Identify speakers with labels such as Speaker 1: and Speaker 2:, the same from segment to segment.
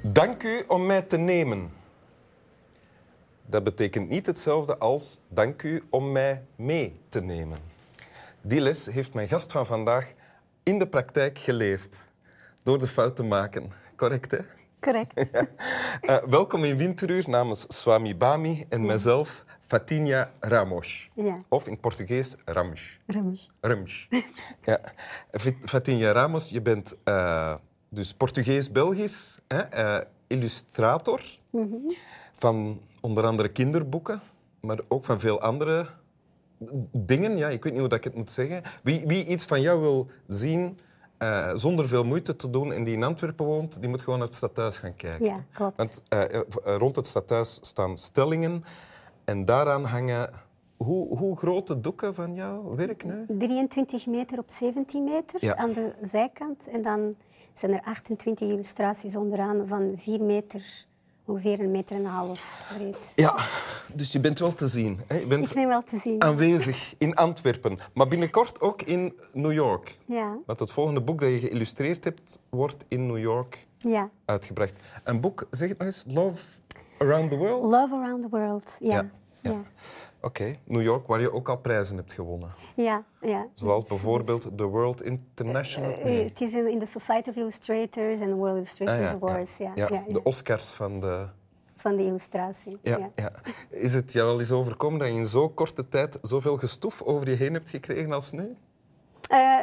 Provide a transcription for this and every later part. Speaker 1: Dank u om mij te nemen. Dat betekent niet hetzelfde als dank u om mij mee te nemen. Die les heeft mijn gast van vandaag in de praktijk geleerd. Door de fout te maken. Correct, hè?
Speaker 2: Correct.
Speaker 1: Eh, welkom in Winteruur namens Swami Bami en mijzelf, Fatinha Ramos.
Speaker 2: Ja.
Speaker 1: Of in het Portugees, Ramos.
Speaker 2: Rummes.
Speaker 1: Rums. ja. Fit- Fatinha Ramos, je bent eh, dus Portugees-Belgisch hè, eh, illustrator
Speaker 2: Mhm.
Speaker 1: van onder andere kinderboeken, maar ook van veel andere dingen. Ja, ik weet niet hoe dat ik het moet zeggen. Wie, wie iets van jou wil zien eh, zonder veel moeite te doen en die in Antwerpen woont, die moet gewoon naar het stadhuis gaan kijken.
Speaker 2: Ja, klopt.
Speaker 1: Want eh, eh, v- eh, rond het stadhuis staan stellingen en daaraan hangen... Hoe, hoe grote doeken van jouw werk nu?
Speaker 2: 23 meter op 17 meter
Speaker 1: Ja.
Speaker 2: aan de zijkant. En dan zijn er 28 illustraties onderaan van 4 meter, ongeveer een meter en een half breed.
Speaker 1: Ja, dus je bent wel te zien. Hè? Je bent
Speaker 2: Ik ben wel te zien.
Speaker 1: aanwezig in Antwerpen, maar binnenkort ook in New York.
Speaker 2: Ja,
Speaker 1: Want het volgende boek dat je geïllustreerd hebt, wordt in New York
Speaker 2: ja.
Speaker 1: uitgebracht. Een boek, zeg het nog eens, Love Around the World?
Speaker 2: Love Around the World. Ja.
Speaker 1: Ja,
Speaker 2: Ja.
Speaker 1: ja.
Speaker 2: Ja.
Speaker 1: Oké, New York, waar je ook al prijzen hebt gewonnen.
Speaker 2: ja,
Speaker 1: Zoals
Speaker 2: Dus- dus-
Speaker 1: bijvoorbeeld de World International... Ah,
Speaker 2: eh,
Speaker 1: nee.
Speaker 2: Het is in in de Society of Illustrators en World
Speaker 1: Ah,
Speaker 2: Illustrations Awards. Ja.
Speaker 1: Ja,
Speaker 2: Ja,
Speaker 1: de Oscars van de...
Speaker 2: Van de illustratie.
Speaker 1: Ja, ja. Is het jou wel eens overkomen dat je in zo'n korte tijd zoveel gestoef over je heen hebt gekregen als nu?
Speaker 2: Eh,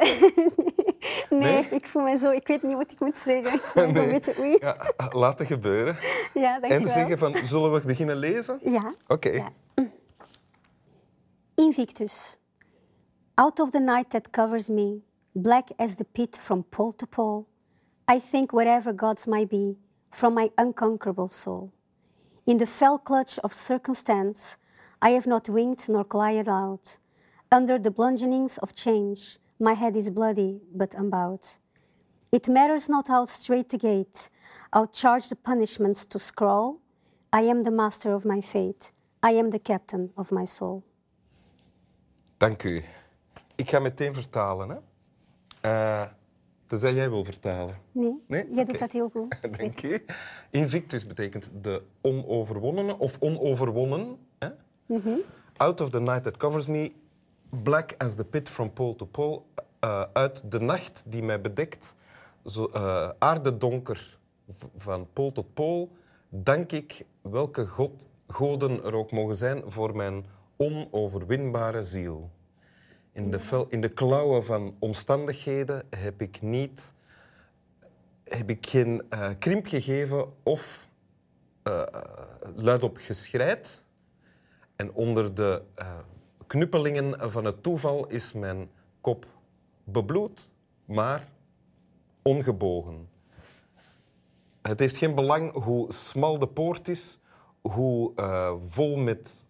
Speaker 2: nee,
Speaker 1: Nee?
Speaker 2: ik voel me zo... Ik weet niet wat ik moet zeggen. Ik ben
Speaker 1: Nee.
Speaker 2: zo'n beetje... Oei. Ja,
Speaker 1: Ja, laten gebeuren. En
Speaker 2: dankjewel.
Speaker 1: zeggen van, zullen we beginnen lezen?
Speaker 2: Ja.
Speaker 1: Oké.
Speaker 2: Ja. Invictus. Out of the night that covers me, black as the pit from pole to pole, I think whatever gods might be, from my unconquerable soul. In the fell clutch of circumstance, I have not winged nor glided out. Under the bludgeonings of change, my head is bloody but unbowed. It matters not how straight the gate, outcharge the punishments to scroll. I am the master of my fate. I am the captain of my soul.
Speaker 1: Dank u. Ik ga meteen vertalen, hè. Eh, tenzij jij wil vertalen.
Speaker 2: Nee,
Speaker 1: Nee?
Speaker 2: jij
Speaker 1: Oké.
Speaker 2: doet dat heel goed.
Speaker 1: Dank u. Invictus betekent de onoverwonnene of onoverwonnen. Hè? Out of the night that covers me, black as the pit from pole to pole. Eh, uit de nacht die mij bedekt, zo, eh, aardedonker v- van pool tot pool, dank ik welke god, goden er ook mogen zijn voor mijn onoverwinbare ziel. In de, fel- in de klauwen van omstandigheden heb ik niet heb ik geen eh, krimp gegeven of eh luidop geschreid. En onder de eh, knuppelingen van het toeval is mijn kop bebloed, maar ongebogen. Het heeft geen belang hoe smal de poort is, hoe eh, vol met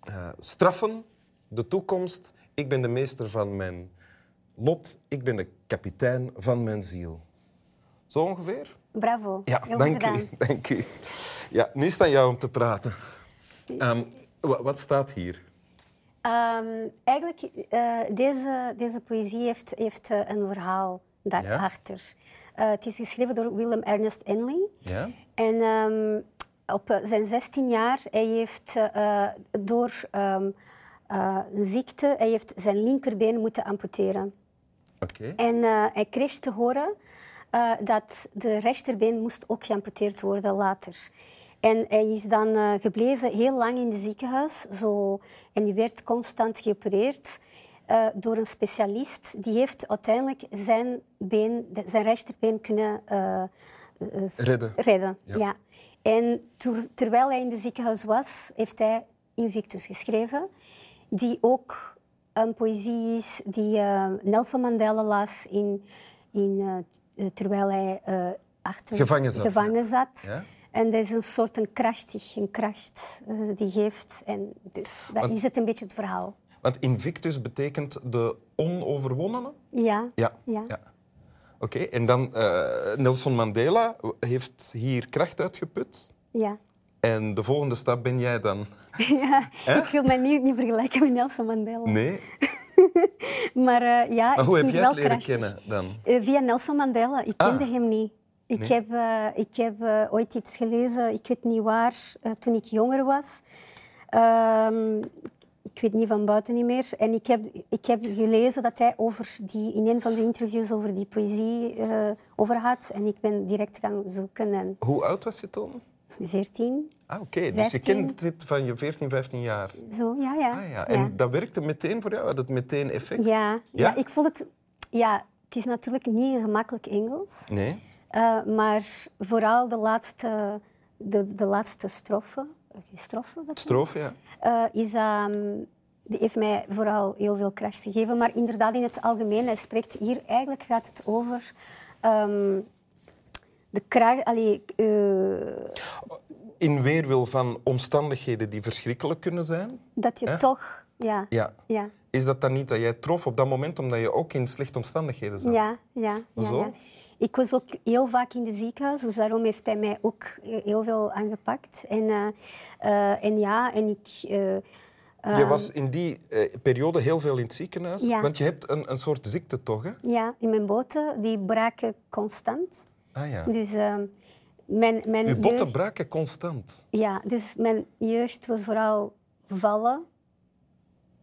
Speaker 1: eh, straffen de toekomst. Ik ben de meester van mijn lot, ik ben de kapitein van mijn ziel. Zo ongeveer?
Speaker 2: Bravo.
Speaker 1: Ja,
Speaker 2: heel goed
Speaker 1: dank
Speaker 2: gedaan.
Speaker 1: u, dank u. Ja, nu is het aan jou om te praten. Ehm, wa- wat staat hier?
Speaker 2: Ehm, eigenlijk, eh deze, deze poëzie heeft, heeft eh, een verhaal daarachter. Eh, het is geschreven door Willem Ernest Henley.
Speaker 1: Ja?
Speaker 2: En ehm, op eh, zijn 16 jaar, hij heeft eh, eh, door ehm, eh, een ziekte, hij heeft zijn linkerbeen moeten amputeren.
Speaker 1: Oké.
Speaker 2: En eh, hij kreeg te horen eh, dat de rechterbeen moest ook geamputeerd worden later. En hij is dan eh, gebleven heel lang in het ziekenhuis. Zo, en hij werd constant geopereerd eh, door een specialist. Die heeft uiteindelijk zijn, been, de- zijn rechterbeen kunnen eh, eh, s-
Speaker 1: Redden.
Speaker 2: redden.
Speaker 1: Ja.
Speaker 2: Ja. En ter- terwijl hij in het ziekenhuis was, heeft hij Invictus geschreven, die ook een poëzie is die eh, Nelson Mandela las in, in, eh, eh, terwijl hij eh, achter
Speaker 1: Gevangen zat,
Speaker 2: gevangen zat.
Speaker 1: Ja.
Speaker 2: En dat is een soort een krachtig, een kracht eh, die geeft. En dus dat
Speaker 1: Want-
Speaker 2: is het een beetje het verhaal.
Speaker 1: Want invictus betekent de onoverwonnene?
Speaker 2: Ja,
Speaker 1: Ja.
Speaker 2: Ja.
Speaker 1: Oké, en dan eh, Nelson Mandela heeft hier kracht uitgeput.
Speaker 2: ja.
Speaker 1: En de volgende stap ben jij dan?
Speaker 2: Ik wil mij nu niet vergelijken met Nelson Mandela.
Speaker 1: Nee.
Speaker 2: Maar eh, ja,
Speaker 1: Maar hoe
Speaker 2: ik
Speaker 1: heb
Speaker 2: vind
Speaker 1: jij
Speaker 2: wel
Speaker 1: het leren
Speaker 2: krachtig.
Speaker 1: kennen dan?
Speaker 2: Eh, Via Nelson Mandela. Ik
Speaker 1: Ah.
Speaker 2: kende hem niet. Ik
Speaker 1: Nee?
Speaker 2: heb, eh, ik heb eh, ooit iets gelezen, ik weet niet waar, eh, toen ik jonger was. Ehm, ik weet niet van buiten niet meer. En ik heb, ik heb gelezen dat hij over die, in een van de interviews over die poëzie eh, over had. En ik ben direct gaan zoeken en
Speaker 1: Hoe oud was je toen?
Speaker 2: 14,
Speaker 1: Ah, oké. Dus je
Speaker 2: 15.
Speaker 1: kent dit van je 14, 15 jaar.
Speaker 2: zo, ja, ja.
Speaker 1: Ah, ja. En dat werkte meteen voor jou? Had het meteen effect?
Speaker 2: Ja, ja.
Speaker 1: Ja?
Speaker 2: ik vond het... Ja, het is natuurlijk niet een gemakkelijk Engels.
Speaker 1: Nee?
Speaker 2: Eh, maar vooral de laatste, de, de laatste strofe, eh, strofe dat-
Speaker 1: Strofe, ja.
Speaker 2: eh, is, ehm, die heeft mij vooral heel veel crash gegeven. Maar inderdaad, in het algemeen, hij spreekt hier eigenlijk gaat het over ehm, de kracht. Allee, eh,
Speaker 1: In weerwil van omstandigheden die verschrikkelijk kunnen zijn.
Speaker 2: dat je
Speaker 1: Ja.
Speaker 2: toch. Ja,
Speaker 1: Ja.
Speaker 2: ja.
Speaker 1: Is dat dan niet dat jij trof op dat moment omdat je ook in slechte omstandigheden zat?
Speaker 2: Ja, ja, ja,
Speaker 1: Zo?
Speaker 2: ja. Ik was ook heel vaak in de ziekenhuis, dus daarom heeft hij mij ook heel veel aangepakt. En, eh, eh, en ja, en ik... eh,
Speaker 1: Je was in die eh, periode heel veel in het ziekenhuis.
Speaker 2: Ja.
Speaker 1: Want je hebt een, een soort ziekte toch, hè?
Speaker 2: ja, in mijn boten, die braken constant.
Speaker 1: Ah ja.
Speaker 2: Dus eh, mijn, mijn
Speaker 1: Je botten
Speaker 2: jeugd-
Speaker 1: braken constant.
Speaker 2: Ja, dus mijn jeugd was vooral vallen,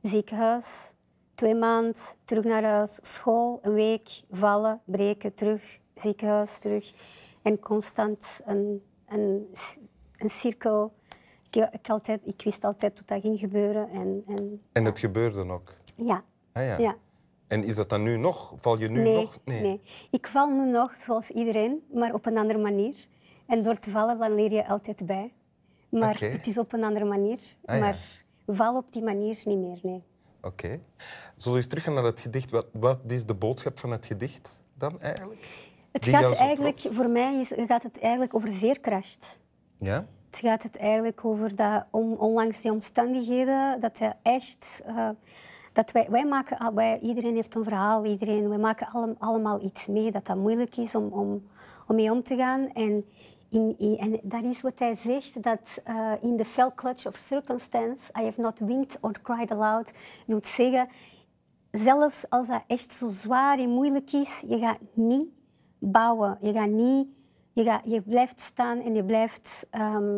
Speaker 2: ziekenhuis, twee maanden, terug naar huis, school, een week, vallen, breken, terug, ziekenhuis, terug. En constant een, een, c- een cirkel. Ik, ik, altijd, ik wist altijd wat dat ging gebeuren. En, en
Speaker 1: En het gebeurde ook.
Speaker 2: ja,
Speaker 1: Ah ja.
Speaker 2: ja.
Speaker 1: En is dat dan nu nog? Val je nu
Speaker 2: Nee,
Speaker 1: nog?
Speaker 2: nee. Ik val nu nog zoals iedereen, maar op een andere manier. En door te vallen dan leer je altijd bij. Maar
Speaker 1: Oké.
Speaker 2: het is op een andere manier.
Speaker 1: Ah, ja.
Speaker 2: maar val op die manier niet meer, nee.
Speaker 1: Oké. Zullen we eens teruggaan naar het gedicht? Wat, wat is de boodschap van het gedicht dan eigenlijk?
Speaker 2: Het
Speaker 1: Die
Speaker 2: gaat
Speaker 1: jou zo
Speaker 2: eigenlijk, voor mij is, gaat het eigenlijk over veerkracht.
Speaker 1: Ja?
Speaker 2: Het gaat het eigenlijk over dat on- onlangs die omstandigheden, dat hij echt... eh, dat wij, wij maken, al- wij, iedereen heeft een verhaal, iedereen, wij maken allem- allemaal iets mee, dat dat moeilijk is om, om, om mee om te gaan. En, in, in- en dat is wat hij zegt, dat eh, in the fell clutch of circumstance, I have not winked or cried aloud, wil zeggen, zelfs als dat echt zo zwaar en moeilijk is, je gaat niet bouwen. Je, gaat niet, je, gaat, je blijft staan en je blijft ehm,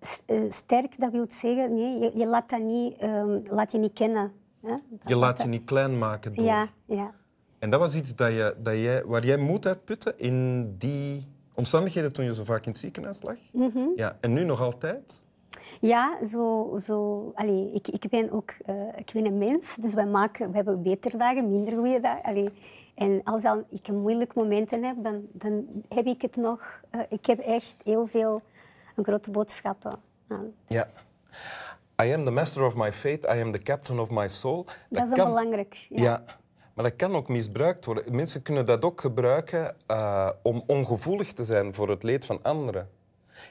Speaker 2: s- eh, sterk. Dat wil zeggen, nee, je, je laat dat niet, ehm, laat je niet kennen. Hè? Dat-
Speaker 1: Je laat je
Speaker 2: dat-
Speaker 1: niet klein maken door.
Speaker 2: Ja, ja,
Speaker 1: En dat was iets dat je, dat jij, waar jij moed uit putte in die omstandigheden toen je zo vaak in het ziekenhuis lag.
Speaker 2: Mhm.
Speaker 1: Ja, en nu nog altijd.
Speaker 2: ja zo, zo, allee, ik, ik ben ook eh, ik ben een mens, dus wij maken, we hebben betere dagen, minder goede dagen. Allee, en als dan ik een moeilijk momenten heb, dan, dan heb ik het nog. eh, ik heb echt heel veel een grote boodschappen aan.
Speaker 1: Ja. I am the master of my fate, I am the captain of my soul. Dat,
Speaker 2: Dat is dan belangrijk.
Speaker 1: Ja. maar dat kan ook misbruikt worden. Mensen kunnen dat ook gebruiken eh, om ongevoelig te zijn voor het leed van anderen.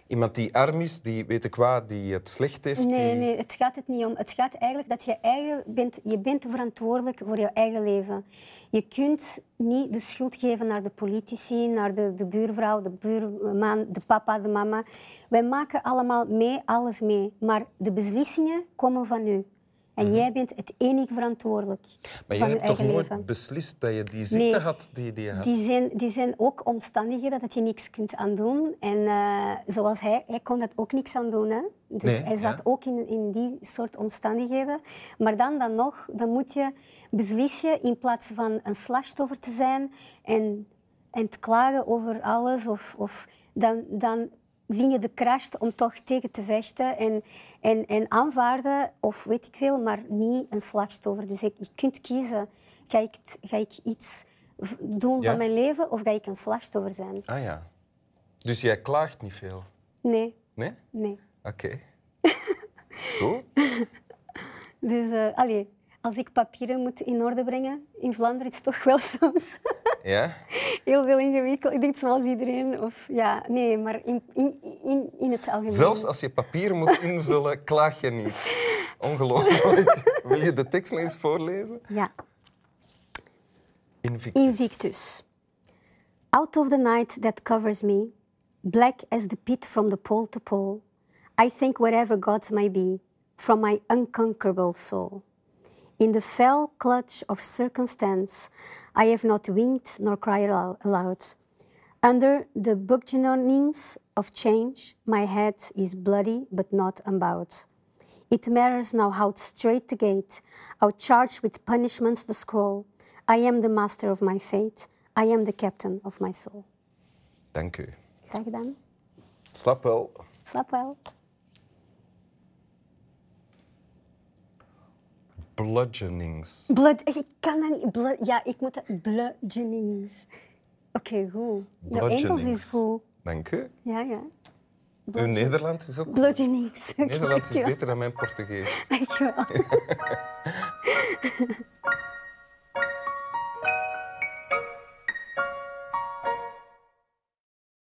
Speaker 1: Iemand die arm is, die weet ik waar, die het slecht heeft.
Speaker 2: Nee,
Speaker 1: die...
Speaker 2: nee, het gaat het niet om. Het gaat eigenlijk dat je eigen bent, je bent verantwoordelijk voor je eigen leven. Je kunt niet de schuld geven naar de politici, naar de, de buurvrouw, de buurman, de papa, de mama. Wij maken allemaal mee, alles mee. Maar de beslissingen komen van u. En jij bent het enige verantwoordelijk
Speaker 1: Mhm. Maar
Speaker 2: van
Speaker 1: jij
Speaker 2: je
Speaker 1: hebt toch
Speaker 2: eigen
Speaker 1: nooit
Speaker 2: leven.
Speaker 1: beslist dat je die ziekte
Speaker 2: Nee.
Speaker 1: had die, die je had?
Speaker 2: Die zijn, die zijn ook omstandigheden dat je niks kunt aan doen. En eh, zoals hij, hij kon dat ook niks aan doen. Hè? Dus
Speaker 1: Nee,
Speaker 2: hij zat
Speaker 1: ja.
Speaker 2: ook in, in die soort omstandigheden. Maar dan, dan nog, dan moet je beslissen in plaats van een slachtoffer te zijn en, en te klagen over alles. Of, of, dan, dan vind je de kracht om toch tegen te vechten en, en, en aanvaarden of weet ik veel, maar niet een slachtoffer. Dus ik, je kunt kiezen. Ga ik, t- ga ik iets v- doen
Speaker 1: Ja.
Speaker 2: van mijn leven of ga ik een slachtoffer zijn?
Speaker 1: Ah ja. Dus jij klaagt niet veel?
Speaker 2: Nee,
Speaker 1: Nee?
Speaker 2: nee.
Speaker 1: Oké. Is goed.
Speaker 2: Dus eh, allee, als ik papieren moet in orde brengen, in Vlaanderen is het toch wel soms
Speaker 1: Ja?
Speaker 2: heel veel ingewikkeld. Ik denk zoals iedereen. Of, ja, nee, maar in, in, in, in het algemeen.
Speaker 1: Zelfs als je papier moet invullen, klaag je niet. Ongelooflijk. Wil je de tekst nog eens voorlezen?
Speaker 2: Ja.
Speaker 1: Invictus.
Speaker 2: Invictus. Out of the night that covers me, black as the pit from the pole to pole, I think wherever gods may be, from my unconquerable soul. In the fell clutch of circumstance, I have not winked nor cried alou- aloud. Under the bourgeonings of change, my head is bloody but not unbowed. It matters now how straight the gate, how charged with punishments the scroll. I am the master of my fate, I am the captain of my soul.
Speaker 1: Dank u.
Speaker 2: Graag gedaan.
Speaker 1: Slap wel.
Speaker 2: Slaap wel.
Speaker 1: Bludgeonings.
Speaker 2: Blood, ik kan dat niet. Blood, ja, ik moet dat. Bludgeonings. Oké, goed. De Engels is
Speaker 1: Bludgeonings.
Speaker 2: goed.
Speaker 1: Dank u.
Speaker 2: Ja, ja.
Speaker 1: Uw Nederland is ook...
Speaker 2: Bludgeonings.
Speaker 1: Nederlands is
Speaker 2: Dankjewel.
Speaker 1: beter dan mijn Portugees.
Speaker 2: Dankjewel.